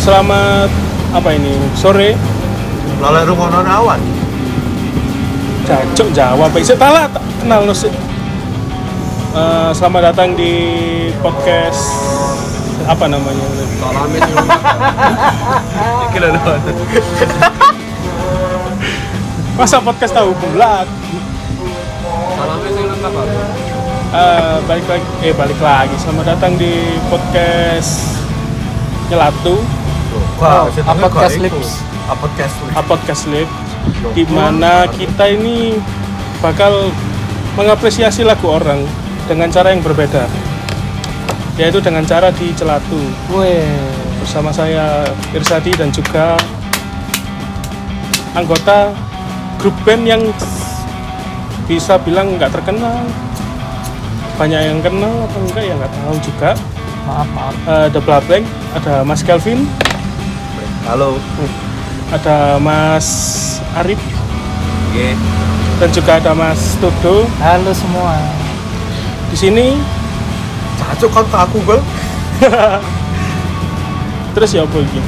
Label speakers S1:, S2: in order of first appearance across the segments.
S1: selamat apa ini sore
S2: Lalai rumono awan.
S1: cacok Jawa baik saya talah tak kenal no sik. Eh, selamat datang di podcast apa namanya
S2: Salamin yo. Iki lho. Don.
S1: masa podcast tahu bulat
S2: Salamin sing lengkap aku.
S1: Eh, balik lagi eh balik lagi selamat datang di podcast nyelatu
S2: Wah,
S3: apa cast lips?
S2: Apa cast lips?
S1: a podcast lab di mana kita ini bakal mengapresiasi lagu orang dengan cara yang berbeda yaitu dengan cara di celatu
S3: Weh,
S1: bersama saya Irsadi dan juga anggota grup band yang bisa bilang nggak terkenal banyak yang kenal atau enggak ya nggak tahu juga
S3: maaf maaf.
S1: Eh, The Blah Blank ada Mas Kelvin
S2: Halo.
S1: ada Mas Arif
S2: Nggih.
S1: dan juga ada Mas Tudo
S3: Halo semua.
S1: di sini
S2: Cacuk kan aku, Bel.
S1: terus ya apa ini?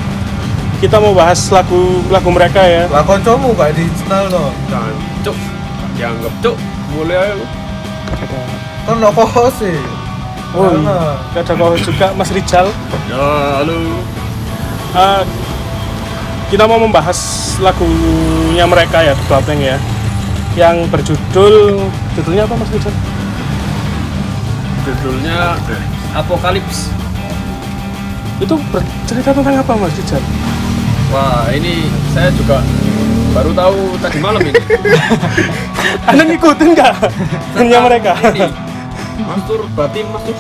S1: kita mau bahas lagu lagu mereka ya
S2: Lah kancamu gak diinstall no.
S4: cuk dianggap cuk mulai aja lu
S2: Kan no host sih.
S1: oh
S2: Karena
S1: iya. ada kau juga Mas Rijal
S4: ya halo
S1: Eh, kita mau membahas lagunya mereka ya The Blateng ya yang berjudul judulnya apa Mas Rijal
S4: judulnya apokalips
S1: itu bercerita tentang apa Mas Rijal
S4: wah ini saya juga baru tahu tadi malam ini
S1: Anda ngikutin nggak lagunya mereka
S4: ini mastur batin mastur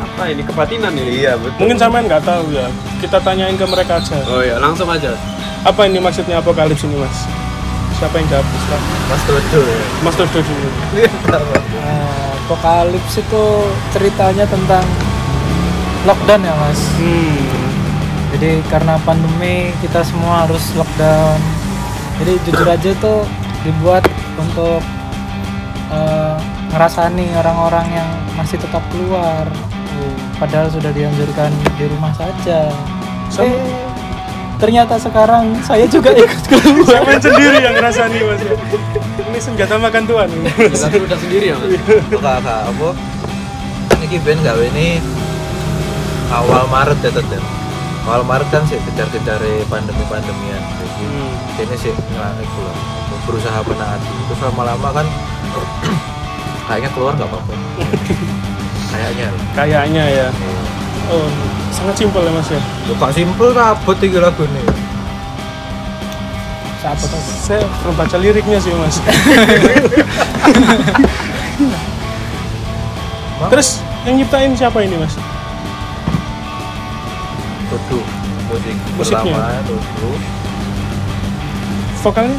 S4: apa ini kebatinan ini
S2: Iya, betul.
S1: mungkin sampean nggak tahu ya kita tanyain ke mereka aja
S4: oh ya langsung aja
S1: apa ini maksudnya apokalips ini Mas siapa yang jawab Silakan.
S2: Mas Dodo ya.
S1: Mas Dodo dulu
S2: Iya, kenapa?
S3: Nah, Apokalips itu ceritanya tentang lockdown ya mas.
S1: Hmm,
S3: Jadi karena pandemi kita semua harus lockdown. Jadi jujur aja tuh dibuat untuk eh, ngerasani orang-orang yang masih tetap keluar. Padahal sudah dianjurkan di rumah saja.
S1: Sama-
S3: Eh, ternyata sekarang saya juga ikut keluar.
S1: siapa yang sendiri yang ngerasa nih mas? ya? Ini senjata makan tuan.
S4: kita udah sendiri ya mas
S2: Kak, kak, apa? Ini band gawe ini awal Maret ya tetep. Awal Maret kan sih kejar-kejar pandemi-pandemian. Jadi
S1: Hmm.
S2: ini sih ngelangi keluar berusaha menaati terus lama-lama kan kayaknya keluar nggak apa-apa kayaknya
S1: Kayaknya ya. Oh, sangat simpel ya mas ya.
S2: Loh, kok simple rabot iki lagu ini
S3: Siapa tuh?
S1: Saya belum baca liriknya sih mas. Terus yang nyiptain siapa ini mas?
S2: Tudu musik
S1: Musiknya?
S2: pertama Tudu
S1: Vokalnya?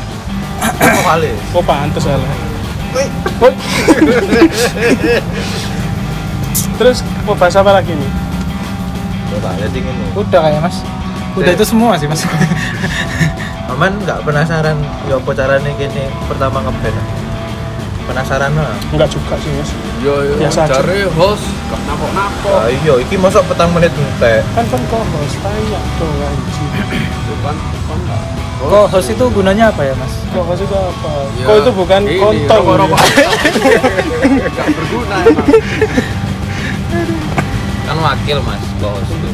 S2: vokalis
S1: Oh pantes ala. Terus mau bahas apa lagi nih?
S2: vokalis dingin nih
S3: Udah kayak mas. Udah
S2: Eh.
S3: itu semua sih mas.
S2: aman nggak penasaran ya apa caranya gini pertama ngeband penasaran lah
S1: Enggak juga sih mas.
S4: yo yo
S1: Biasa
S4: Iya,
S1: aja.
S4: cari host gak napok napok
S2: Wah, iya iki masuk petang menit ngetek
S1: Kan kan kok harus tanya dong anjing.
S4: depan
S3: Oh, host itu gunanya apa ya, Mas?
S1: Kok itu apa?
S4: Iya.
S2: Ya,
S1: Kok itu bukan ya? kontol.
S4: kontol
S1: Iya.
S4: gak berguna emang
S5: kan wakil mas bos itu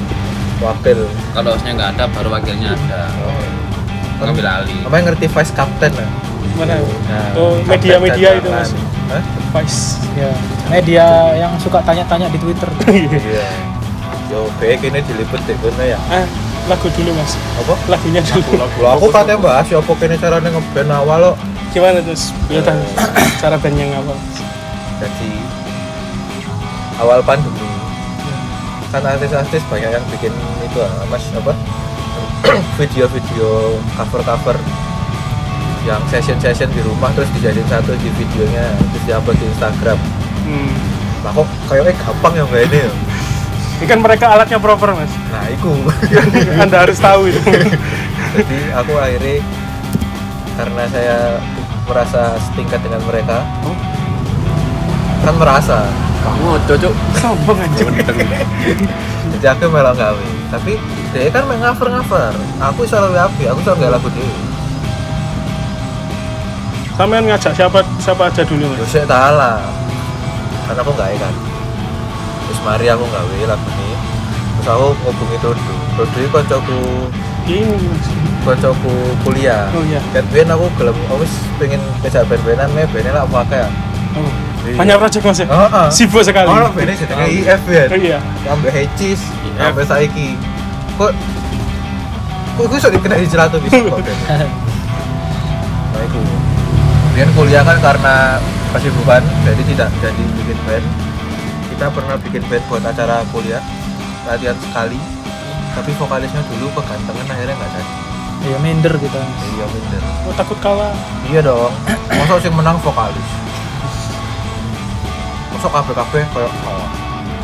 S2: wakil
S5: kalau hostnya nggak ada baru wakilnya ada Oh. ngambil alih
S2: apa yang ngerti vice captain lah
S1: Mana?
S2: Nah,
S1: Oh,
S2: captain
S1: media-media itu mas.
S2: cadangan. Hah?
S1: Vice.
S3: Ya, media yang suka tanya-tanya di Twitter.
S2: Iya. Yo, kayak gini diliput deh bener ya.
S1: Ah, lagu dulu mas.
S2: Apa?
S1: Lagunya dulu.
S2: Lah aku katanya bahas ya apa kene carane ngeband awal lo.
S1: Gimana terus? Ya tahu. Cara band yang apa?
S2: Jadi awal pandemi kan artis-artis banyak yang bikin itu ah, Mas apa? video-video cover-cover yang session-session di rumah terus dijadiin satu di videonya terus diupload di Instagram.
S1: Hmm.
S2: Lah kok kayaknya gampang ya mbak ini ya.
S1: Ini kan mereka alatnya proper mas.
S2: Nah, iku.
S1: Anda harus tahu itu.
S2: jadi aku akhirnya karena saya merasa setingkat dengan mereka
S1: Oh.
S2: kan merasa
S4: Wah, cocok.
S3: sombong anjing
S2: jadi aku malah gawe tapi dia kan main cover cover aku iso lebih api aku iso gak lagu dia
S1: Sampean ngajak siapa siapa aja dulu
S2: yo
S1: mas?
S2: sik tak lah karena aku gak kan terus mari aku gawe lagu ini terus aku hubungi Dodo Dodo itu kocokku
S1: Ini
S2: kocokku kuliah
S1: Oh, iya.
S2: dan ben aku gelem aku wis pengen kejar ben-benan me bene lah aku akeh
S1: oh. banyak project mas ya?
S2: Heeh.
S1: Sibuk sekali.
S2: Iya. Oh, bene jenenge IF ya.
S1: Oh, iya. E
S2: sampai Hecis
S4: Iya.
S2: sampai Saiki kok kok gue sudah kena hijrah tuh bisa kok Ben? nah itu Kemudian kuliah kan karena kesibukan jadi tidak jadi bikin band kita pernah bikin band buat acara kuliah latihan sekali tapi vokalisnya dulu kegantengan akhirnya nggak jadi
S3: ya minder gitu
S2: iya bener
S1: Oh, takut kalah.
S2: iya dong masa sih menang vokalis masa kabeh kabeh kayak kalah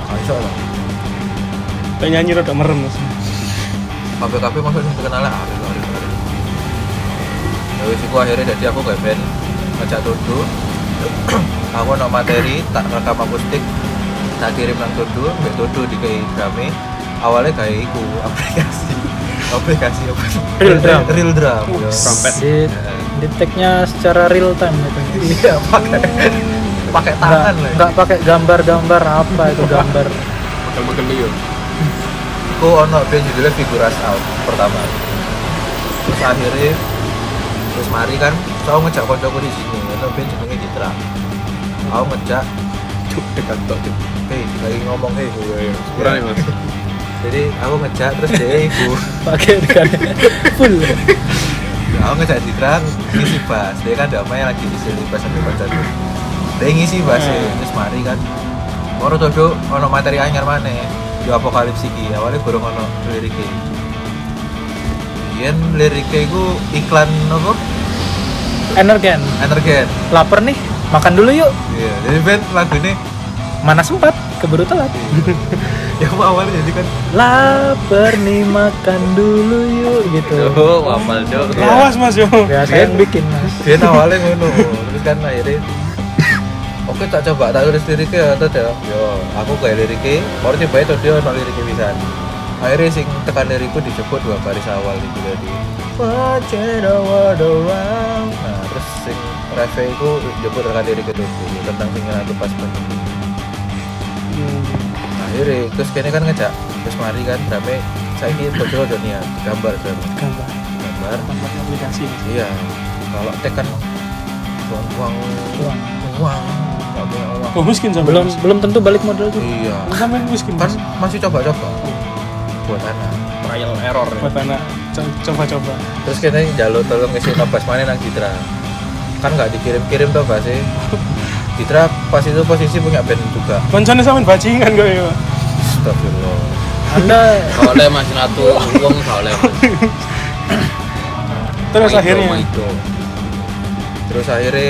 S2: nggak bisa lah
S1: Kayak nyanyi rada merem mas.
S2: KPKP maksudnya terkenal lah Arif Arif Arif ya wis iku akhirnya jadi aku gak band ngajak Dodo aku nak materi tak rekam akustik tak kirim nang Dodo mbak Dodo di kami awalnya kayak iku aplikasi aplikasi apa
S1: Real Drum.
S2: real drum ya.
S4: Trompet.
S3: si deteknya secara real time gitu
S2: iya pakai pakai tangan lah ya.
S3: nggak pakai gambar-gambar apa itu gambar
S4: Makan-makan dulu.
S2: aku ono band judulnya Figuras Out pertama terus akhirnya terus mari kan aku ngejak kocokku di sini ono band jenenge Citra aku ngejak
S4: Cuk, dekat tok. Cuk.
S2: hei lagi ngomong hei
S4: Iya, iya. Kurang ya, Mas.
S2: jadi aku ngejak terus dia ibu
S3: pakai dengan full
S2: aku ngejak Citra ngisi bass dia kan damai lagi ngisi bass sampai baca tuh dia ngisi bass ya. terus mari kan Moro todo ono materi anyar maneh di apokalips iki awalnya burung ono liriknya Yen liriknya itu iklan apa?
S3: energen
S2: Energen.
S3: kan? lapar nih makan dulu yuk
S2: Iya, jadi band lagu ini
S3: mana sempat keburu telat
S2: yang awalnya jadi kan
S3: lapar nih makan dulu yuk gitu
S5: Duh, wapal dong.
S1: Lawas mas yo.
S3: ya saya yang bikin mas
S2: dia awalnya ngono, terus kan akhirnya Oke, tak coba tak tulis liriknya atau ya. Yo, aku kayak liriknya, baru coba itu dia nol liriknya bisa. Akhirnya sing tekan lirikku dijemput dua baris awal itu jadi. Watching the world around. Nah, terus sing refnya itu jemput tekan lirik itu tentang singan aku pas penuh. akhirnya terus kayaknya kan ngejak terus mari kan sampai saya ini betul dunia gambar Bram.
S1: Gambar,
S2: gambar
S1: gambar aplikasi. Mas.
S2: iya kalau tek kan uang uang
S3: Uang.
S2: uang nggak punya uang
S1: Oh miskin sampean,
S3: belum
S1: Mas.
S3: belum tentu balik modal juga
S2: iya
S1: Sampean miskin
S2: kan
S1: mas.
S2: masih coba-coba buat anak
S4: Trial error. ya.
S1: Buat anak Co- coba-coba.
S2: terus kita jalur tolong ngisi nobas mana nang Citra kan nggak dikirim-kirim tuh Mbak sih Citra pas itu posisi punya band juga
S1: Koncone sampean bajingan kok ya. Pak.
S2: Astagfirullah
S3: anda
S5: Gak oleh mas Natu, uang gak oleh mas.
S1: Terus
S5: Maido,
S1: akhirnya
S5: Maido.
S2: terus akhirnya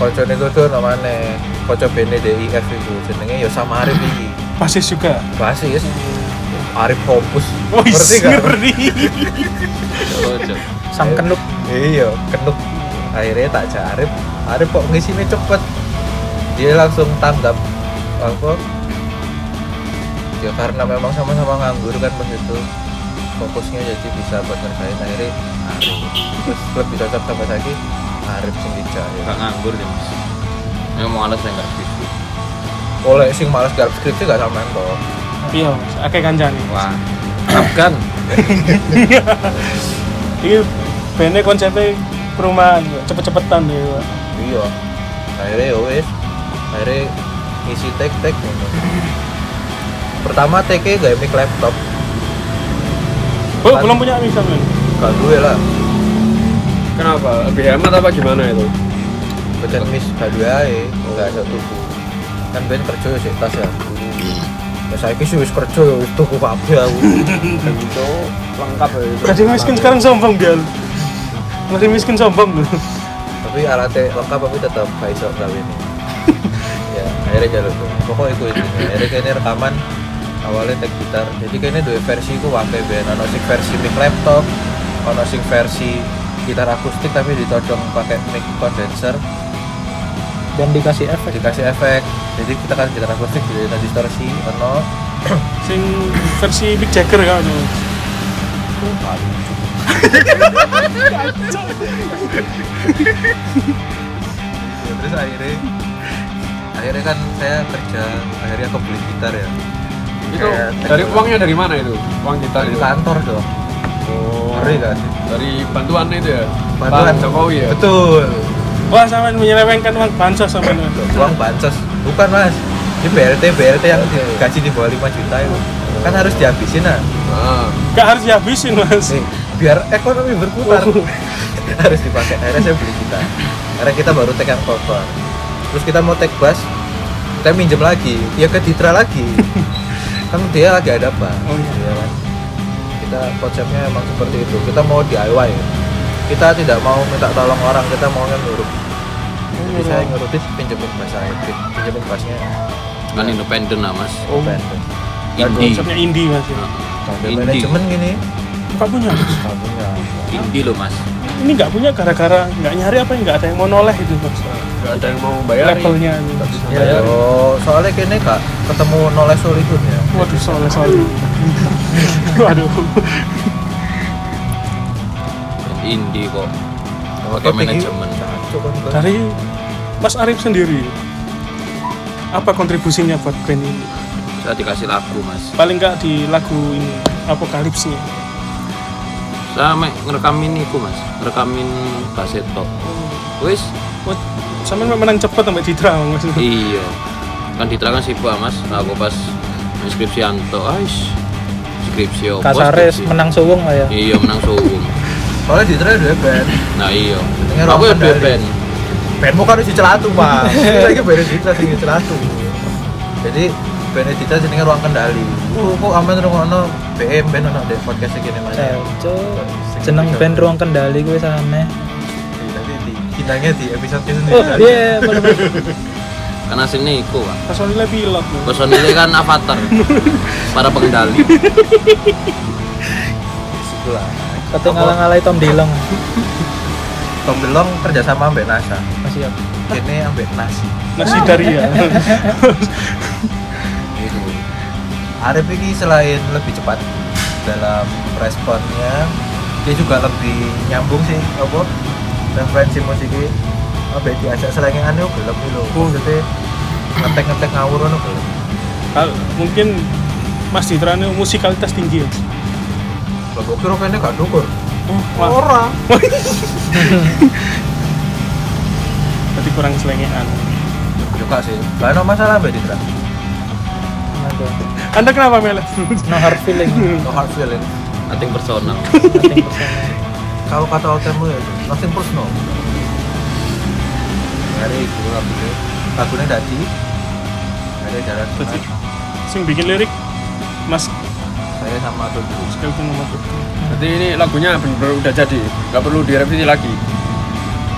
S2: kocone itu tuh namanya koco band DIF itu jenenge ya sama Arif iki
S1: basis juga.
S2: basis Arif Hopus
S1: Oh,
S2: ngerti nggak?
S1: ngeri.
S5: Tuh, Cuk.
S3: sang kenduk
S2: iya kenuk akhirnya tak ajak Arif Arif kok ngisinya cepet dia langsung tanggap apa ya karena memang sama-sama nganggur kan pas itu fokusnya jadi bisa buat ngerjain akhirnya Arif terus lebih cocok sama lagi Arif sing dijahit
S5: Gak nganggur deh mas. Ini mau alas yang gak gitu.
S2: oleh sing males garap skripsi gak sama toh
S1: Iya, Mas. akeh kancane.
S5: Wah, Afgan.
S1: Iki bene konsepnya perumahan, Pak. cepet-cepetan ya. Pak.
S2: iya akhirnya ya wes akhirnya ngisi tek tek pertama tek nya gak mic laptop
S1: Oh,
S2: Kan-
S1: belum punya mic sampean.
S2: gak duwe lah
S4: Kenapa? Lebih hemat apa gimana itu?
S2: Beken mis gak duwe ae gak iso tuku kan ben kerja ya sik tas ya ya saiki sih wis kerja ya wis tuku kabeh aku
S4: Itu lengkap ya itu.
S1: Kadang miskin sekarang sombong dia. Masih miskin sombong loh.
S2: tapi alatnya lengkap tapi tetap gak iso gawe ini ya akhirnya jalur tuh pokoknya itu itu akhirnya kayaknya rekaman awalnya tek gitar jadi kayaknya dua versi ku wakai band ono sing versi mic laptop ono sing versi gitar akustik tapi ditodong pakai mic condenser
S3: dan dikasih efek
S2: dikasih efek jadi kita kan generasi musik jadi ada distorsi ono
S1: sing versi Mick Jagger kan
S2: Ya, terus akhirnya akhirnya kan saya kerja akhirnya aku beli gitar ya
S4: Itu
S2: Kayak
S4: dari
S2: teknologi.
S4: uangnya dari mana itu? Uang kita
S2: dari
S4: itu.
S2: kantor dong
S4: Oh.
S2: ngeri gak sih
S4: Dari bantuan itu ya. Pak
S2: Bantuan.
S4: Jokowi ya.
S2: betul
S1: wah sampean menyelewengkan uang bansos sampean
S2: uang bansos bukan mas ini BLT BLT yang gaji di bawah 5 juta itu kan harus dihabisin nah
S4: Ah.
S1: gak harus dihabisin mas
S2: Eh, biar ekonomi berputar harus dipakai akhirnya saya beli kita akhirnya kita baru take yang cover terus kita mau take bus kita minjem lagi ya ke Ditra lagi kan dia lagi ada apa
S1: Oh, iya.
S2: kan? kita konsepnya emang seperti itu kita mau DIY kita tidak mau minta tolong orang kita mau nyuruh jadi saya nyuruh Dit, pinjemin bus saya Dit, pinjemin busnya
S5: kan independen lah mas
S2: oh.
S5: indie
S1: konsepnya indie mas ya.
S5: indie
S2: manajemen gini
S1: gak punya Mas.
S2: kamu
S5: indie loh mas
S1: ini nggak punya gara-gara nggak nyari apa nggak ada yang mau noleh itu mas
S4: Gak ada yang mau bayar.
S1: levelnya itu.
S2: ya yo. soalnya kini kak ketemu noleh solidun ya
S1: waduh soleh soleh waduh
S5: indie kok
S4: Oh,
S2: Tapi
S5: pakai manajemen
S2: ini- Coba enggak.
S1: dari Mas Arif sendiri apa kontribusinya buat band ini
S5: saya dikasih lagu mas
S1: paling nggak di lagu ini apokalipsnya
S5: saya mek ngerekamin iku mas ngerekamin kaset tok wis
S1: Wah, sampe menang cepet sampai Citra mas
S5: iya kan diterangkan sibuk ah, mas Nah, aku pas skripsi anto ais skripsi apa
S3: kasares
S5: skripsi?
S3: menang suwung lah ya
S5: Oh, iya menang suwung
S2: Soalnya di ya, trailer dua band.
S5: nah iya
S2: Ini
S5: aku yang
S2: orang
S5: dua
S2: Bali.
S5: band
S2: Bandmu kan harus dicelatu, Mas. Kita iki beres Ditra sing dicelatu. Jadi band Ditra jenenge Ruang Kendali. Uh, kok aman rungokno BM band ono deh podcast iki Mas.
S3: Cel, jeneng band ruang kendali gue sana
S2: Nanti di bintangnya di episode sendiri.
S3: oh iya boleh boleh
S5: karena sini iku Pak.
S1: personilnya pilot Mas.
S5: personilnya kan avatar para pengendali
S2: Sebelah.
S3: kata ngalah-ngalahi Tom Dilong
S2: Tom Belong kerjasama ambek NASA.
S3: masih ya? apa
S2: Kene ambek Nasi.
S1: nasi dari ya
S2: Gitu. Arif ini selain lebih cepat dalam responnya, dia juga lebih nyambung sih, apa? Referensi musiknya apa ya, diajak selengean itu gelap nih loh.
S1: Oh.
S2: Maksudnya ngetek-ngetek ngawur itu gelap.
S1: Hal- mungkin Mas Citra ini musikalitas tinggi ya
S2: Lah kok kira kayaknya gak dukur.
S1: Wah,
S2: Ora.
S1: berarti kurang selengean
S2: Juga sih. Gak ada masalah Mbak Ditra.
S1: Hmm.
S3: Kenapa?
S1: Anda kenapa Mel?
S3: no hard feeling
S2: No hard feeling.
S5: nothing personal
S3: nothing
S1: Iya.
S3: personal.
S2: Kalau kata otemu ya, nothing personal. Hari itu lagunya, lagunya dadi. Ada jalan
S1: Dadi. Sing bikin lirik Mas
S2: saya sama Tutu.
S1: Kelvin sama Tutu.
S4: Berarti ini lagunya benar-benar udah jadi. Gak perlu direvisi lagi.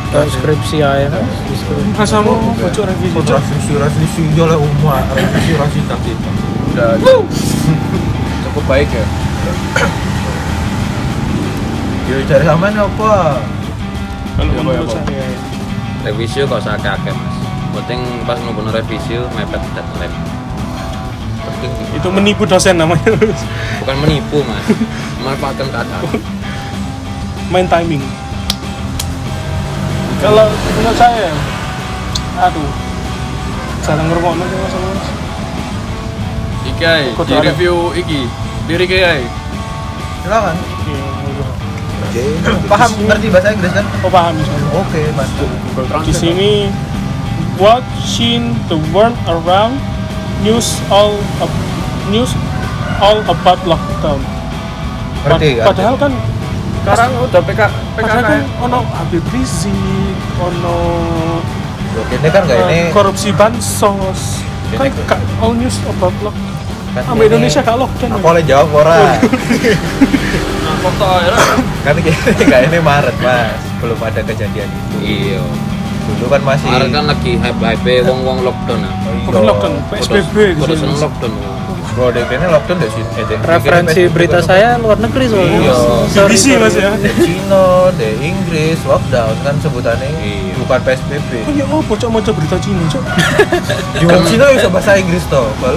S3: Kalau skripsi aja kan
S1: Iya.
S3: skripsi.
S1: Rasamu bocor revisi
S2: Transisi, transisi, ya lah umur, transisi, transisi, transisi.
S4: Udah cukup baik ya.
S2: Ya cari sama apa?
S1: kalau
S4: Iya,
S1: menurut
S4: Pak,
S1: saya
S4: Pak.
S1: ya.
S5: revisi kok usah kakek mas penting pas nunggu revisi mepet deadline penting
S1: itu menipu dosen namanya
S5: bukan menipu mas memanfaatkan keadaan
S1: main timing kalau menurut saya aduh jarang ngerokok nanti mas Mas.
S4: Iki ae,
S1: Kok
S4: di
S1: ada?
S4: review iki. Liriknya ae.
S2: Silakan.
S1: Iya, iya.
S2: Paham, ngerti bahasa Inggris kan?
S1: oh paham misalnya
S2: Oke, mantap.
S4: Google
S1: di
S4: Translate.
S1: sini watching the world around news all ab- news all about lockdown Pad-
S2: Ngerti kan?
S1: padahal kan
S4: Sekarang udah PK
S1: padahal
S4: PKK.
S1: kan ono Habib Rizik ono
S2: Oke, ini kan nggak
S1: eh,
S2: ini.
S1: korupsi bansos
S2: Ini
S1: kan
S2: kok-
S1: gak all news about lockdown
S2: kan
S1: ambil
S2: ini-
S1: Indonesia gak lockdown ya?
S2: Aku oleh jawab ora.
S4: Nah, Foto akhirnya
S2: kan ini nggak ini Maret mas, belum ada kejadian itu.
S5: iya
S2: Dulu kan masih.
S4: Iya.
S2: Oh, iya.
S5: kemarin kan lagi hype hype wong wong lockdown ah
S1: Bukan lockdown, PSBB
S5: Bodos-
S1: gitu.
S5: bodosan lockdown ya.
S2: Bro, dek ini lockdown deh sih. Eh, dek, dek
S3: referensi
S1: Iya.
S2: ini
S3: berita
S2: PSBB
S3: saya luar negeri soalnya
S2: Iya.
S3: Sorry,
S1: BBC
S3: sorry.
S1: mas ya
S2: kan- Dek Cina, dek Inggris, lockdown kan sebutannya
S5: Iya.
S2: bukan PSBB.
S1: oh ya oh bocok mau berita Cina cok
S2: Di wong Kan Cina bisa bahasa Inggris toh, Bal.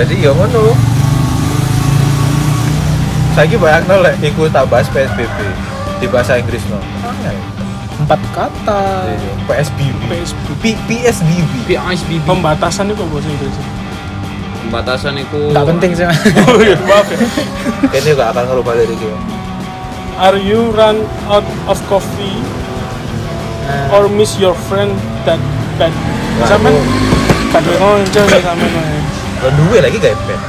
S2: Jadi ya ngono. Saiki bayangno lek iku tak bahas PSBB di bahasa Inggris no.
S3: empat kata
S2: Iya, PSBB.
S1: PSBB
S2: P- PSBB.
S5: PSBB
S1: pembatasan itu bahasa Inggris
S5: pembatasan itu
S3: nggak penting sih Mas.
S1: oh iya maaf ya
S2: Kayaknya gak akan ngerubah lirik ya.
S1: Are you run out of coffee
S3: Nah,
S1: or miss your friend that that sampean kadwe ngonco ya sampean Mas.
S2: Lah duwe lagi gak pen.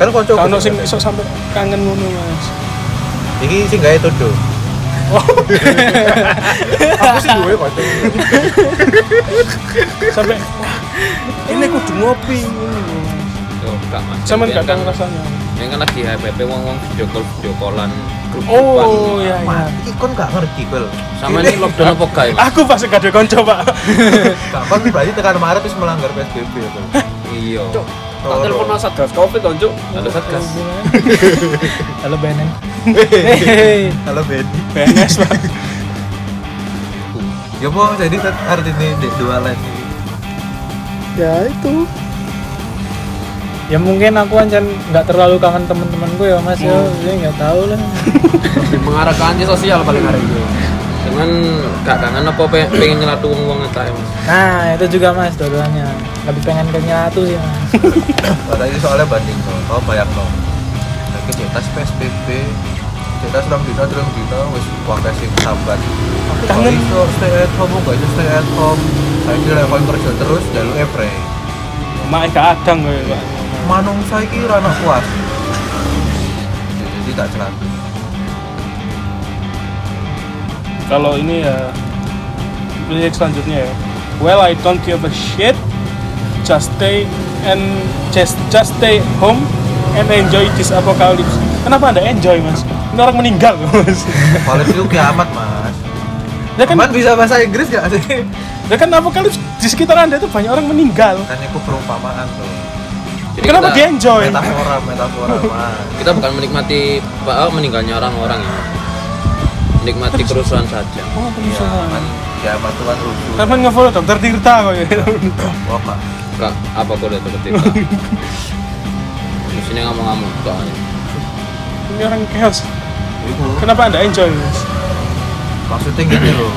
S2: Kan konco
S1: Kalau sing esok sampe kangen ngono Mas.
S2: iki sing gawe todo.
S1: Oh.
S2: Aku sih duwe konco.
S1: Sampe wah, ini kudu ngopi ngono.
S5: Yo, gak mas
S1: Sampean
S5: Yang
S1: gak
S5: kan-
S1: tahu rasanya.
S5: yang kan lagi HPP wong-wong video call video callan grup
S1: Oh
S5: grupan.
S1: iya iya.
S2: Iki kon gak ngerti, Bel.
S5: sama ini lockdown apa gak ya
S4: Ah.
S5: Mas?
S1: Aku pas kadwe konco Pak.
S2: Gak kon berarti tekan Maret wis melanggar PSBB ya, Bel.
S5: iya
S4: Cuk, tak telepon mas satgas covid dong cuk
S5: ada satgas
S3: halo ya. Benen
S2: Halo Benny.
S1: PNS lah.
S2: Ya mau jadi kan artinya di dua line ini.
S3: ya itu ya mungkin aku ancan nggak terlalu kangen temen-temenku ya mas ya
S1: Hmm.
S3: jadi nggak tahu lah
S4: Lebih mengarah ke anti sosial paling hari ini
S5: cuman gak kangen apa pe- pengen nyelatu wong-wong aja mas
S3: nah itu juga mas dua-duanya lebih pengen ke nyatu sih mas
S2: Padahal ini soalnya banding no. Kau banyak no. Lagi cetas PSBB, cetas rong dino, rong dino, wis pakai sing sambat. Aku
S1: Kangen.
S2: kangen iso stay at home, gak iso stay at home. Saya kira level kerja terus, jalur epre.
S1: Mak gak adang kowe Pak.
S2: Manung saya kira anak puas. Jadi tak celatu.
S1: Kalau ini ya lirik selanjutnya ya. Well, I don't give a shit. Just stay and just just stay home and enjoy this apocalypse. Kenapa anda enjoy mas? Ini orang meninggal mas.
S2: Kalau itu kiamat mas.
S1: Ya kan,
S2: Mas bisa bahasa Inggris gak sih?
S1: ya kan apocalypse di sekitar anda itu banyak orang meninggal.
S2: Kan itu perumpamaan tuh.
S5: Jadi
S1: Kenapa
S5: kita-
S1: dia enjoy?
S2: Metafora, metafora mas.
S5: kita bukan menikmati apa meninggalnya orang-orang ya menikmati kerusuhan saja
S1: Oh,
S2: Iya, kan
S1: penyesalan.
S2: kiamat tuh kan rusuh.
S1: Kapan ngefollow dokter Tirta kok ya?
S2: Wah, Pak.
S5: kak apa boleh itu ketika di sini ngomong-ngomong soalnya
S1: Ini orang chaos.
S2: Iku.
S1: Kenapa anda enjoy mas?
S2: maksudnya gini loh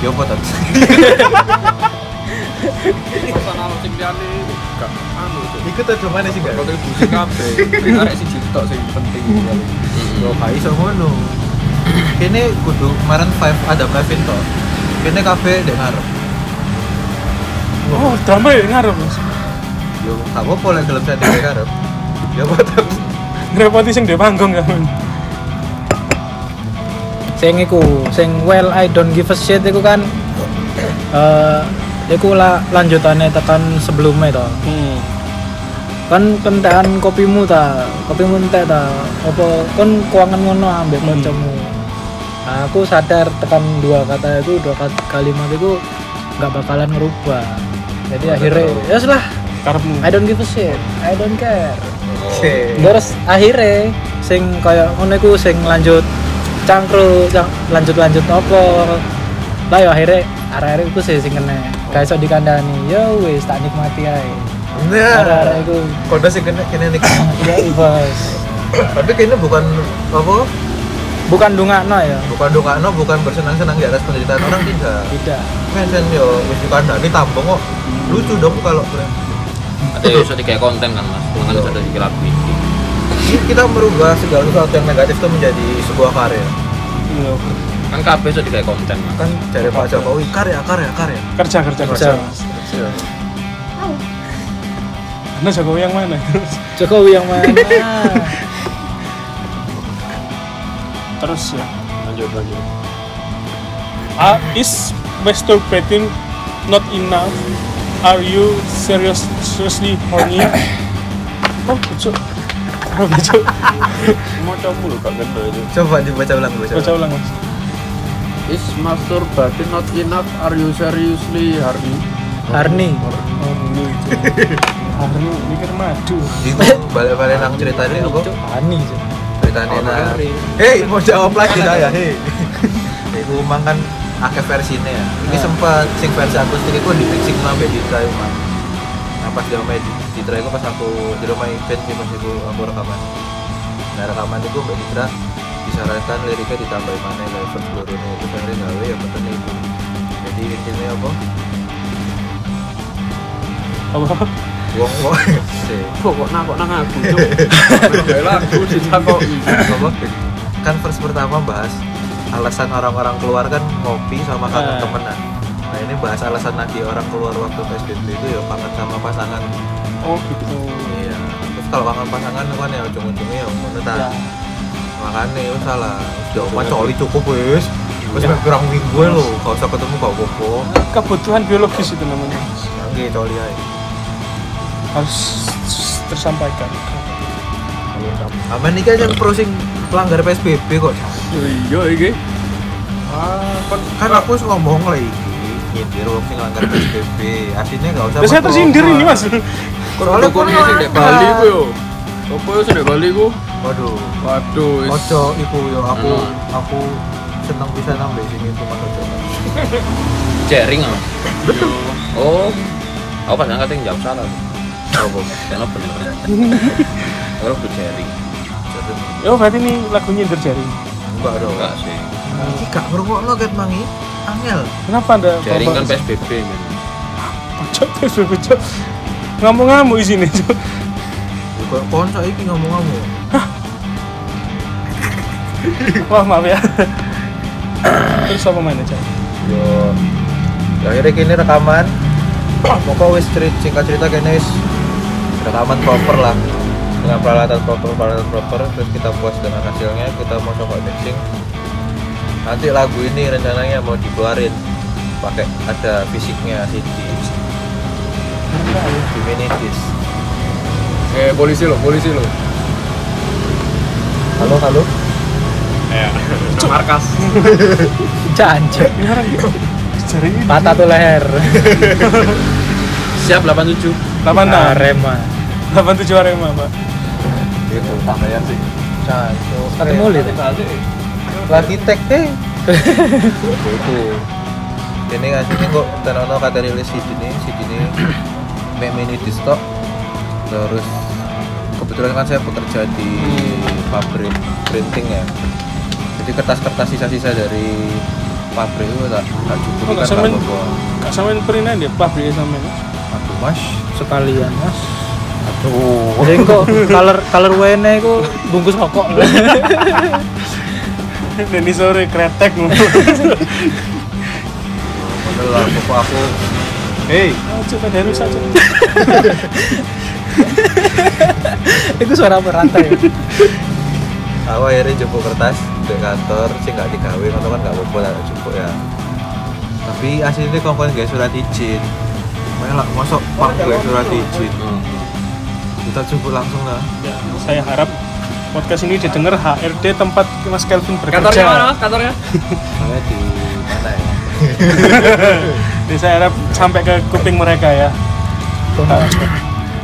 S2: ya apa tadi
S4: personal sing liyane gak anu cuk
S2: itu tuh cuma sih gak
S4: kontribusi kabeh arek siji tok sing penting
S2: lo gak iso ngono kene kudu kemarin five ada Kevin toh kene kafe dek ngarep
S1: Oh, drama ya ngaruh mas.
S2: yo gak apa-apa lah gelem saya dek ngarep ya apa tadi
S1: Ngerepoti sing di panggung kan?
S3: sing iku sing well I don't give a shit iku kan eh iku la, lanjutannya tekan sebelumnya toh
S1: Hmm.
S3: kan kentekan kopimu ta kopimu entek ta apa kon keuangan ngono ambek
S1: Hmm.
S3: kancamu nah, aku sadar tekan dua kata itu dua kata, kalimat itu nggak bakalan ngerubah jadi akhirnya ya sudah
S1: Karepmu.
S3: I don't give a shit I don't care
S2: Sih.
S3: terus akhirnya sing kaya ngono iku sing lanjut cangkru cang, lanjut lanjut apa lah ya akhirnya arek-arek iku sih sing kene gak iso dikandani ya wis tak nikmati ae arek-arek
S2: nah
S3: iku
S2: kode sih kene kene nih
S3: ya i, bos
S2: tapi kene bukan apa
S3: bukan dungakno ya
S2: bukan dongakno bukan bersenang-senang di atas penderitaan orang tidak
S3: tidak
S2: Kesen yo wis dikandani tambah kok lucu dong kalau
S5: ada yang bisa dikayak konten kan mas cuma kan bisa ada sikil api
S2: kita merubah segala sesuatu yang negatif itu menjadi sebuah karya
S1: Iya.
S5: kan KB bisa dikayak konten mas
S2: kan dari Pak Jokowi karya karya karya
S1: Kerja kerja kerja.
S3: Kerja.
S1: Mas. Anda Jokowi yang mana?
S3: Jokowi yang mana
S1: Terus ya.
S4: lanjut lanjut
S1: Ah, is masturbating not enough? Are you serious, seriously horny? Oh, cuk. Oh, cuk.
S4: mau coba gak gede itu
S2: coba dibaca ulang baca
S1: Baca ulang,
S2: ulang
S1: Mas.
S4: is masturbation not enough are you seriously horny
S3: Arni
S1: Arni itu. Arni mikir madu.
S2: itu balik-balik nang ceritanya apa
S3: Arni Cuk.
S2: ceritanya
S4: Orang
S2: nang
S4: Arni.
S2: hei mau jawab lagi saya hei itu emang kan akeh versinya ya ini sempat sing versi akustik itu di mixing sampai di try emang nah pas di rumah di try itu pas aku di rumah event sih pas aku aku rekaman nah rekaman itu mbak Ditra disarankan liriknya ditambahin mana ya verse baru ini itu kan gawe ya penting itu jadi intinya apa
S1: Apa?
S2: wong wong sih
S4: Kok nang kok nang aku. Cuk. Kayak lagu ditakoki.
S2: apa kan first pertama bahas alasan orang-orang keluar kan ngopi sama kangen
S1: Ah.
S2: temenan nah ini bahas alasan lagi orang keluar waktu psbb itu ya kangen sama pasangan
S1: Oh gitu.
S2: iya terus kalau kangen pasangan kan ya ujung-ujungnya ya
S1: Ya.
S2: mau tetap makanya itu salah udah opan coli cukup wis wis kurang minggu lo gak usah ketemu gak apa-apa
S1: Kebutuhan biologis itu namanya.
S2: nanti coli aja
S1: Harus tersampaikan.
S2: aman nih kan yang pro sing pelanggar psbb kok
S4: Iya iki.
S2: kan, kan aku harus ngomong lah ini nyindir wong sing langgar PSBB aslinya nggak usah
S1: Terus saya
S2: pakai
S1: tersindir
S2: oma.
S1: ini mas.
S2: Soalnya
S4: Kok
S2: kok
S4: sing di
S2: langgar.
S4: Bali ku yo. Apa yo sing di Bali ku?
S2: waduh
S4: Waduh. wis.
S2: ojo ibu yo aku
S5: Hmm.
S2: aku seneng bisa nambah sini itu mas ojo
S5: Jaring Mas.
S4: Yo.
S5: Oh. Aku pas angkat yang jawab salah. Oh, Apa? Kenapa bener? Kalau udah jaring.
S2: jadi
S1: Yo Oh, berarti ini lagunya nyindir jaring.
S2: enggak
S4: Oh.
S2: dong
S5: Enggak sih.
S2: ini gak merungok lo ket mangi angel
S1: Kenapa anda?
S5: Jaring kan
S1: bawa-
S5: PSBB men.
S1: Cok, cok, cok. Ngamuk-ngamuk isinya cok.
S2: juga konco iki ngomong ngomong
S1: Wah maaf ya. Terus apa mainnya cok?
S2: yo Ya, akhirnya kini rekaman pokoknya wis cerit singkat cerita kini wis rekaman proper lah dengan peralatan proper peralatan proper terus kita puas dengan hasilnya kita mau coba mixing nanti lagu ini rencananya mau dikeluarin pakai ada fisiknya CD di mini disc
S4: Eh polisi lo, polisi lo.
S2: halo halo
S4: Ya. Markas.
S3: Jancuk.
S1: Jaring ini.
S3: Patah tuh leher
S5: Siap 87.
S1: Delapan enam.
S3: Arema
S1: Delapan tujuh Arema pak.
S2: itu tambahan sih nah itu
S3: Satu mulut ya?
S2: lagi tag deh itu ini aslinya kok tenono kata rilis si ini si ini Mac mini di stok terus kebetulan kan saya bekerja di pabrik printing ya jadi kertas-kertas sisa-sisa dari pabrik itu tak tak cukup
S1: Oh, nggak
S2: kan
S1: semen.
S2: tak bawa
S1: Kak samain perinan dia pabrik ya samain.
S2: aku mas
S3: sekalian mas
S2: aduh
S3: jadi kok color color wene ku bungkus rokok
S1: Dan ini sore kretek ngomong.
S2: model lah pokok aku hei
S1: Oh, Cok, ada rusak cok.
S3: itu suara berantai
S2: aku akhirnya jemput kertas di kantor sih nggak digawe kantor kan nggak apa-apa lah jemput ya tapi aslinya kongkong nggak surat izin malah masuk pak nggak surat izin
S5: Hmm.
S2: kita jemput langsung lah
S1: Ya, saya harap podcast ini didengar HRD tempat Mas Kelvin bekerja.
S4: Kantornya mana mas? Kantornya?
S2: saya di mana ya
S1: Jadi saya harap sampai ke kuping mereka ya. Nggak-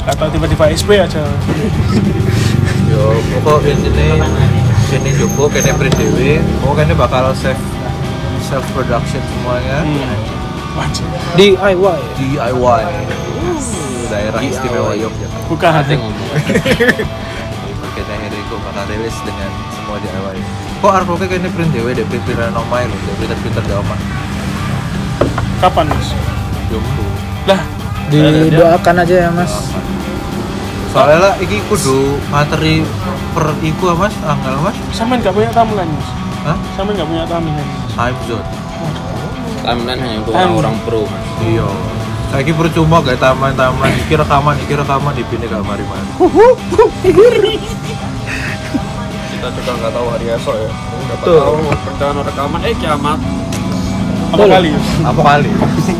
S1: nggak tahu tiba-tiba SP aja.
S2: yo pokok ini ini jemput kene print dewe pokok kene bakal self self production semuanya
S1: Hmm. Wajib.
S3: di DIY
S2: DIY daerah istimewa Yogyakarta
S1: Buka hati.
S5: Nanti ngomong.
S2: Oke, akhirnya aku bakal rilis dengan semua DIY Kok artworknya kayaknya print ya, dewe deh, print printan omai loh, deh printer printer di omah
S1: Kapan mas?
S2: Jumbo
S1: Lah,
S3: didoakan aja ya mas
S2: Soalnya lah, ini kudu materi per iku ah, mas, anggal mas
S1: samain nggak punya tamu kan mas?
S2: Hah?
S1: Samain nggak punya tamu kan? Mas?
S2: Time zone
S5: Timeline hanya untuk orang-orang pro mas.
S2: Iya Saya percuma gak taman-taman, iki rekaman, iki rekaman, di pindah gak mari-mari
S4: Kita juga nggak tahu hari esok ya. Dapat
S2: Betul.
S4: tahu rencana rekaman. Eh kiamat.
S1: Apa kali? Mas?
S2: Apa kali?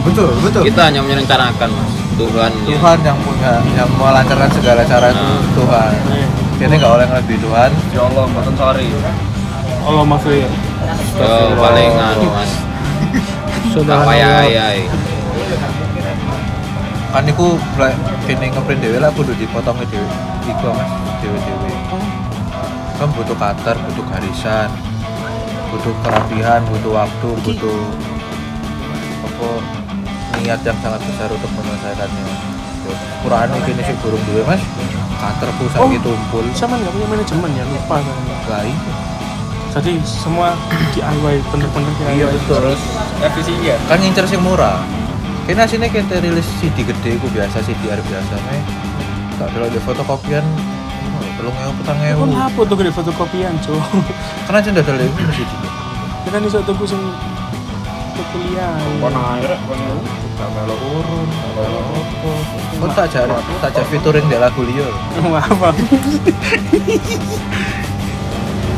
S2: betul, betul
S5: Kita hanya merencanakan mas. Tuhan. ya.
S2: Tuhan yang punya, yang melancarkan segala cara itu Tuhan Kayaknya gak oleh lebih Tuhan
S4: Ya Allah, mboten sori.
S1: Allah maaf ya.
S5: Oh, paling anu mas. Gak
S3: Subhanallah.
S5: payah ayai.
S2: kan iku bla- kene ngeprint dhewe lah kudu dipotong dhewe iku Mas dhewe-dhewe kan butuh cutter butuh garisan butuh kerapihan butuh waktu butuh apa niat yang sangat besar untuk menyelesaikannya kurang ini sih burung dhewe Mas cutterku sakit tumpul
S1: sama nggak punya manajemen ya lupa saya.
S2: lain
S1: jadi semua DIY bener-bener DIY
S2: iya betul
S4: terus FPC ya
S2: kan ngincer sing murah kena sini kita rilis CD gede ku biasa CDR biasa me tak ada lagi fotokopian belum ngewu petang
S1: Aku
S2: ngewu
S1: ngapa Ya, tuh gede fotokopian Ya kan cuy
S2: karena aja ndak ada lagi CD
S1: kita nih suatu kucing kuliah
S4: kon air kon tambah lo urun tambah lo opo
S2: kok Oh, tak jar tak jar featuring dek lagu liyo
S1: maaf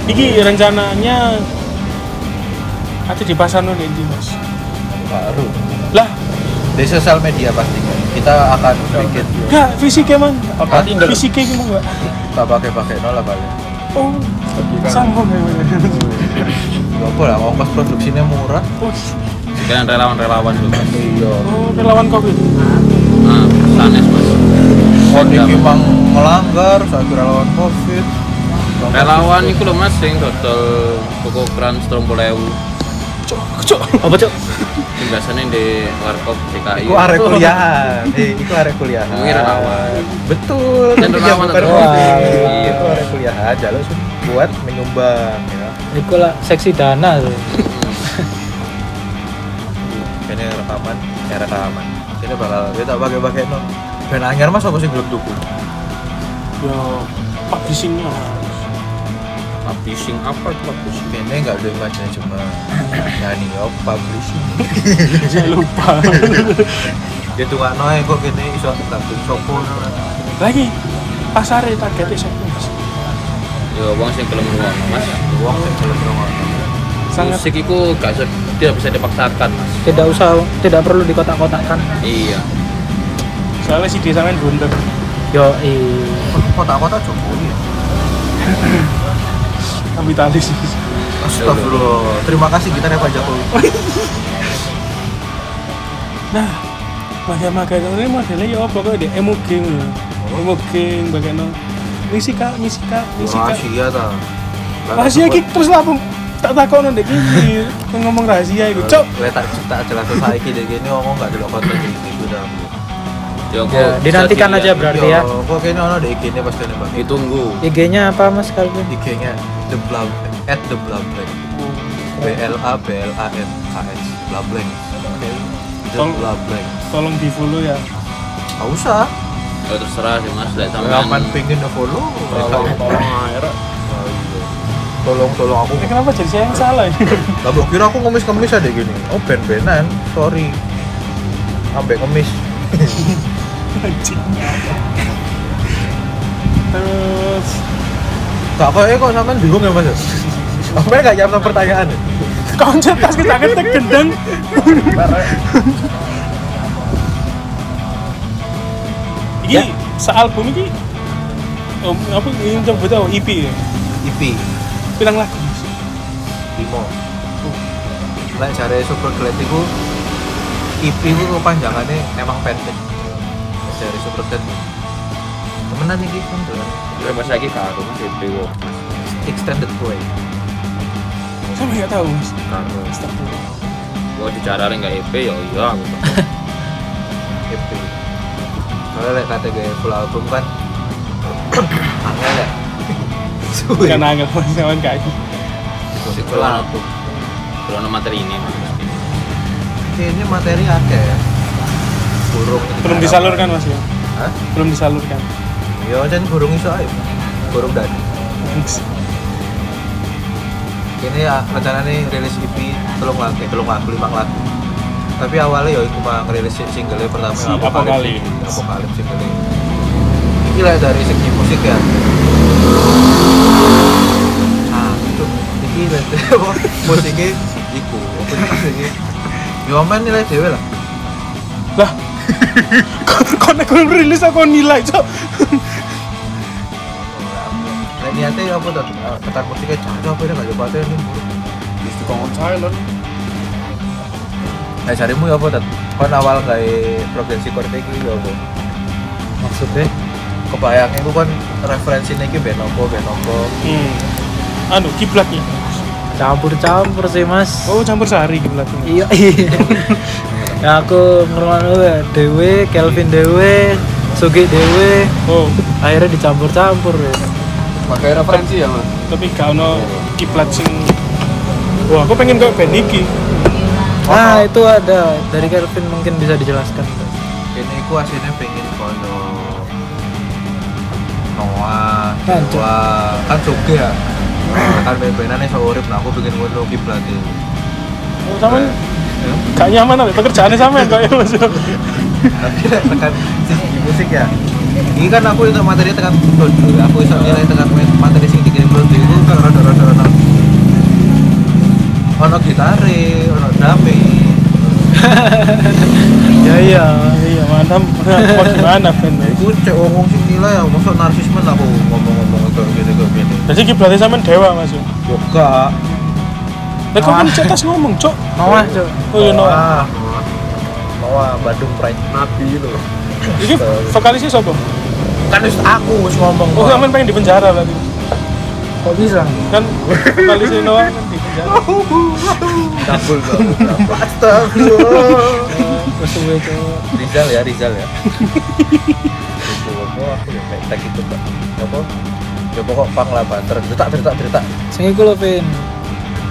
S1: Iki rencananya ada di pasar nih di mas.
S2: baru
S1: Lah,
S2: di sosial media pastinya kita akan bikin
S1: gak fisiknya man.
S2: Apa?
S1: Fisiknya gimana gak?
S2: tak pakai pakai nol lah paling
S1: Oh, sanggup ya.
S2: Ya apa lah ongkos produksinya murah
S1: Oh,
S5: Sekalian relawan-relawan juga.
S2: iya
S1: oh, relawan covid.
S5: Nah, sanes mas.
S2: kon iki mang melanggar saya kira lawan covid
S5: Relawan itu loh mas yang total toko kran strombolewu.
S1: Cok, cok.
S3: apa cok
S5: Yang biasanya di warkop DKI.
S2: Iku arek kuliahan, eh, iku arek kuliahan.
S5: Ini relawan.
S2: Betul.
S5: Dan
S2: tapi
S5: relawan
S2: bukan
S5: tetap.
S2: kuliah.
S5: Iya.
S2: Iku arek kuliahan, jalur buat menyumbang ya.
S3: Iku lah seksi dana tuh
S5: Hmm.
S2: Ini rekaman, ya rekaman. Ini bakal kita tak pakai-pakai no. Ben anyar Mas apa sih belum tuku?
S1: Ya, publishingnya.
S5: Publishing apa itu publishing?
S2: Ini enggak ada macam cuma ya, nyanyi yo publishing.
S1: Saya lupa.
S2: Dia tuh nggak noy kok gini iso tak sopo.
S1: Lagi pasarnya targetnya siapa mas?
S5: Ya uang sing gelem ruang mas.
S2: Uang sih belum nongol.
S1: Sangat
S5: Musik itu gak usah- tidak bisa dipaksakan mas.
S3: tidak usah tidak perlu dikotak-kotakan
S5: Iya.
S1: soalnya si desa main bunter.
S3: yo
S2: Kota-kota Jokowi ya.
S1: Kapitalis.
S2: Astagfirullah. Terima kasih kita Pak Jokowi.
S1: Nah, magang-magang ini modelnya ya apa kok di emo game ya. Emo game bagaimana? Misi kak, misi kak, misi kak.
S2: Rahasia ta.
S1: kan? Rahasia ki terus lah Bung. tak takon ndek iki ngomong rahasia iku. Cok,
S2: Gue Eh, tak tak jelas saya iki dek gini ngomong gak delok konten iki gitu, iki udah.
S5: Ya, aku
S3: Ya,
S5: bisa
S3: dinantikan
S5: dilihat.
S3: aja berarti ya
S2: Kok kene ono dek iki pas kene Bang. Itu
S5: Ditunggu.
S3: IG-nya apa mas Calvin?
S2: IG-nya The Blab at The Blablank. B L A B L A N K S Blablank. Oke. The
S1: Tol-
S2: Blablank.
S1: tolong di follow ya.
S2: Enggak usah.
S5: Ya terserah sih mas. Lek
S2: Kapan
S5: sampean
S2: pengen di follow?
S4: tolong tolong air
S2: Tolong tolong aku.
S1: Ini Eh, kenapa jadi saya yang salah ini?
S2: Lah mbok kira aku ngemis-ngemis ada gini. Oh ben-benan. Sorry. Ambek ngemis.
S1: Anjing. Terus
S2: Gak kok eh kok sampean bingung ya Mas? Sampean gak jawab pertanyaan. ya?
S1: konsen tas kita ketek gendeng. Iki sealbum iki Om, apa ini coba tahu EP ya?
S2: IP
S1: Bilang lagi.
S2: Bimo Lek jare Super Glad iku IP ku kepanjangannya emang pendek Jare Super Glad Temenan iki kan dolan.
S5: Ya, bahasa iki gak aku mas. Itu yo.
S2: extended play
S1: Saya nggak tahu mas.
S5: Karo.
S1: Astagfirullah.
S5: Gua dicara nggak EP ya iya aku.
S2: IP Soalnya lek kategori full album kan Angel lek Suwe
S1: Bukan angel, mas. Kawan kaki.
S2: Full album
S5: Belum ada materi ini mas.
S2: Ini materi ada ya Burung
S1: Belum disalurkan mas ya?
S2: Hah?
S1: Belum disalurkan.
S2: Ya dan burung iso ayo Burung dadi ini ah, rencananya rilis EP telung lagu telung lagu lima lagu tapi awalnya ya itu mah ngerilis single pertama
S1: Si Apokalips.
S2: Apokalips single ini lah dari segi musik ya ah itu ini lah apa, musiknya iku apa sih musiknya ya aman nilai dewe lah
S1: Lah, kon aku rilis aku nilai cok.
S2: nah niatnya apa tuh Eh, tekan musiknya jangan apa ini gak coba ini buruk
S4: Wis dikongkon silent
S2: nah carimu ya apa tuh kon awal kayak progresi korte iki ya apa?
S3: maksudnya
S2: Kebayang iku kan kon referensine iki ben opo ben opo.
S1: Hmm. Anu kiblatnya.
S3: campur-campur sih mas
S1: Oh campur sehari kiblatnya.
S3: iya iya ya aku ngerungokno ya dewe Kelvin dewe Sugi dewe
S1: Oh
S3: akhirnya dicampur-campur ya
S4: pakai referensi ya mas
S1: tapi gak ono kiblat sing. Wah aku pengen kayak band iki.
S3: nah itu ada dari Kelvin mungkin bisa dijelaskan
S2: Ini iku asline pengen kono Noah,
S3: Kan,
S2: Noah, kan Soge ya. kan ben-benane iso urip nah aku pengen ngono kiblate.
S1: Oh, sama
S2: Eh,
S1: gak nyaman apa pekerjaannya sama ya kayak mas.
S2: tapi tekan sisi musik ya ini kan aku itu materi tekan Londo aku bisa nilai tekan main- materi sing dikirim Londo itu kan rada rada ono ono gitare ono dame
S1: Ya iya iya mana apa gimana band ya.
S2: aku cek ngomong sing nilai ya maksud narsisme lah aku ngomong-ngomong kayak gitu kayak gini
S1: Jadi kiblatnya sama dewa mas. ya.
S2: yo gak
S1: Lah kok kan cetas ngomong cok.
S3: Noah cok
S1: Oh iya no.
S2: Noah Noah Bandung Pride
S4: nabi itu loh
S1: Iki vokalisnya siapa?
S2: kan wis aku wis ngomong
S1: Oh sampean pengen di penjara berarti.
S3: kok bisa
S1: Kan vokalisnya Noah kan di penjara.
S2: cabul kok astagfirullah
S3: suwe cok
S2: Rizal ya, Rizal ya. Itu apa aku ya kayak tak itu Pak. Apa? Ya pokok pang lah banter. Cerita cerita cerita.
S3: sing iku lho Vin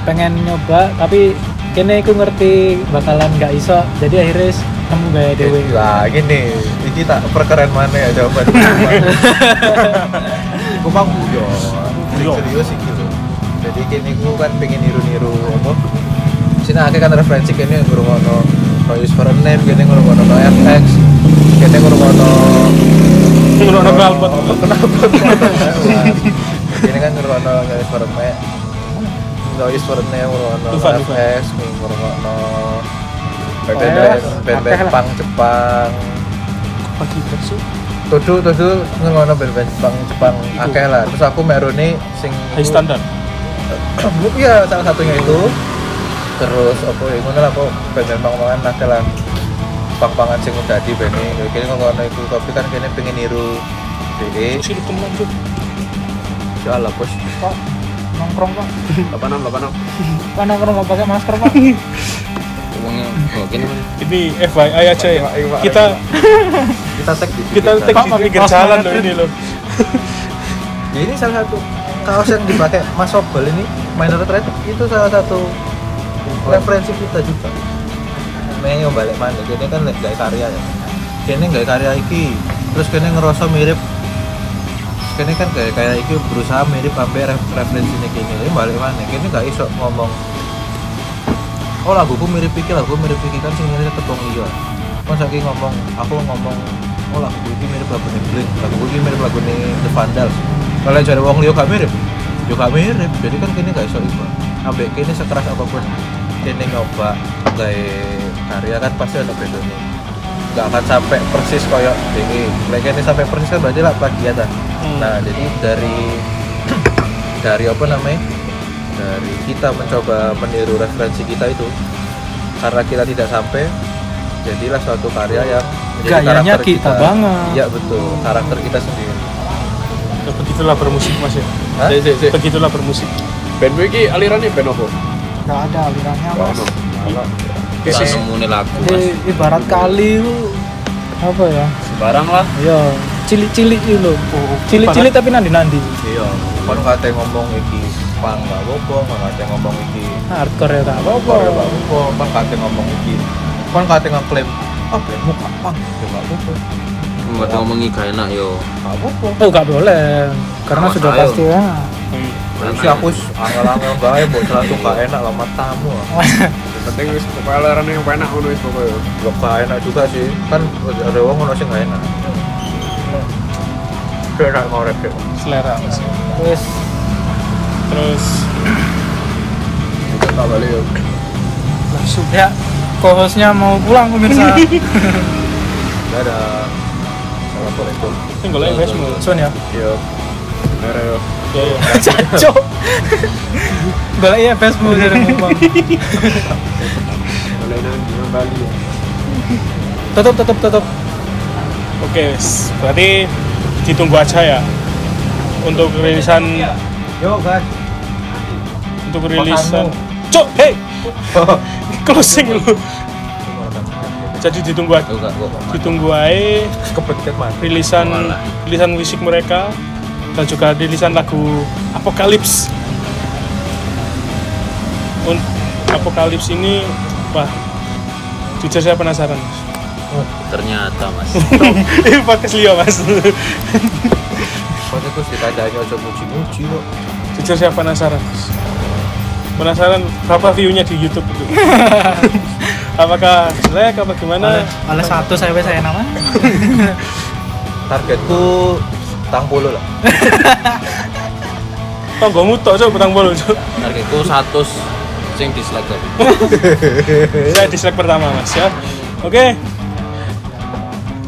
S3: pengen nyoba tapi kene aku ngerti bakalan gak iso jadi akhirnya s- nemu gaya dewe
S2: Lah gini, iki tak perkeren mana ya jawaban. Iku pang yo.
S1: Yo.
S2: Serius iki lho. Jadi kini ku kan pengen niru-niru apa? Sini akeh kan referensi kene ngurungono Noise for a name, kene ngurungono No FX, kene ngurungono
S1: Ngono kalpot.
S2: Kenapa? Oh, Ini kan ngerono kali forme. Noise forme ngerono
S1: Dufan,
S2: FS, ngerono
S3: Oh,
S2: band-band
S3: ya.
S2: band-band
S3: Akeh lah.
S2: pang Jepang.
S1: Pagi besok.
S2: Tudu tudu ngerono band-band pang Jepang akeh lah. Terus aku merone sing
S1: High standar.
S2: Iya, salah satunya itu. Terus apa ya ngono lah kok band-band pang-pangan akeh lah. Pang-pangan sing udah di band ini. Kene ngono iku tapi kan kene pengen niru DE.
S1: Sini teman cok.
S2: Insyaallah, Bos.
S3: kok nongkrong pak
S4: delapan enam delapan enam
S3: kok nongkrong gak pakai masker pak
S5: Uangnya oh, gini Mas.
S1: Ini FYI aja ya. Kita
S2: Kita tag di
S1: kita
S2: Twitter.
S1: take di
S3: Pak,
S1: pinggir
S3: Pak,
S1: jalan
S3: Pak,
S1: loh ini loh.
S2: Ya, ini salah satu kaos yang dipakai Mas Sobel ini minor threat itu salah satu referensi kita juga. Main yang balik mana? Kene kan lek gawe karya ya. Kene gawe karya iki, terus kene ngerasa mirip kene kan kayak kayak iki berusaha mirip sampai referensi ini kene ini balik mana kene gak iso ngomong oh laguku mirip iki lagu mirip iki kan sing mirip ketong iya kan saiki ngomong aku ngomong oh lagu iki mirip lagu ini Blink lagu iki mirip lagu ini The Vandals kalau cari wong liya gak mirip yo gak mirip jadi kan kene gak iso iso ambek kene sekeras apapun kene nyoba gawe karya kan pasti ada bedanya nggak akan sampai persis koyok ini mereka ini sampai persis kan berarti lah plagiat lah nah jadi dari dari apa namanya dari kita mencoba meniru referensi kita itu karena kita tidak sampai jadilah suatu karya yang menjadi
S3: Gayanya
S2: karakter
S3: kita banget.
S2: iya betul karakter kita sendiri
S1: Ya, begitulah bermusik Mas ya.
S2: Hah?
S4: si si si
S1: Begitulah bermusik.
S4: band gue ini alirannya band apa
S3: gak ada alirannya mas
S5: Kita nemu nih lagu Mas.
S3: jadi ibarat kali itu apa ya
S5: Sembarang lah.
S3: ya cilik-cilik itu loh cilik-cilik tapi nandi-nandi
S2: iya kalau kata ngomong iki pang gak apa-apa kalau kata ngomong iki
S3: hardcore ya kak
S2: apa gak apa-apa pang kata ngomong iki kan kata ngeklaim oh bandmu gak pang ya gak apa-apa
S5: Buat ngomongi gak enak yo.
S2: gak apa-apa
S3: oh gak boleh karena
S5: Sama
S3: sudah
S5: saya.
S3: pasti ya
S2: Terus aku angel-angel bae mbok selalu gak enak lama tamu. ah.
S4: yang penting wis pokoknya alirannya yang enak ngono wis pokoknya
S2: Yo gak enak juga sih. Kan ada wong ngono sing gak enak. Gak enak ngorek deh.
S1: Selera Mas. ya.
S3: terus
S1: Terus
S4: tak balik ya
S1: langsung
S3: ya co-hostnya mau pulang pemirsa
S2: Dadah. Assalamualaikum.
S1: tinggal lagi Westmu.
S3: Sun ya
S4: iya bener ya
S1: Ya ya.
S3: Cacok. Iya, Balik ya Facebook dari Mukbang.
S4: balik nanti Bali ya
S3: tutup tutup tutup
S1: Oke, wes. berarti ditunggu aja ya untuk rilisan
S2: Yo guys.
S1: untuk rilisan. Cok, hey, closing lu. Jadi ditunggu aja,
S2: Tuh gak gua kok.
S1: ditunggu aja
S2: Kepencet man.
S1: rilisan rilisan musik mereka dan juga rilisan lagu Apokalips. Un- Apokalips ini wah jujur saya penasaran. Mas.
S5: ternyata mas
S1: Ini podcast Leo mas.
S2: Pokoknya terus ditandanya aja muji-muji kok.
S1: jujur saya penasaran Mas. penasaran berapa view-nya di YouTube itu apakah jelek apa gimana
S3: oleh, oleh satu saya saya nama
S2: Targetku tang puluh lah.
S1: tonggomu tok cok petang bolu cok
S5: targetku 100 sing dislike tapi
S1: saya dislike pertama mas ya oke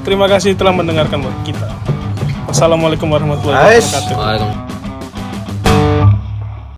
S1: terima kasih telah mendengarkan buat kita wassalamualaikum warahmatullahi
S2: Guys.
S1: wabarakatuh
S5: Waalaikumsalam.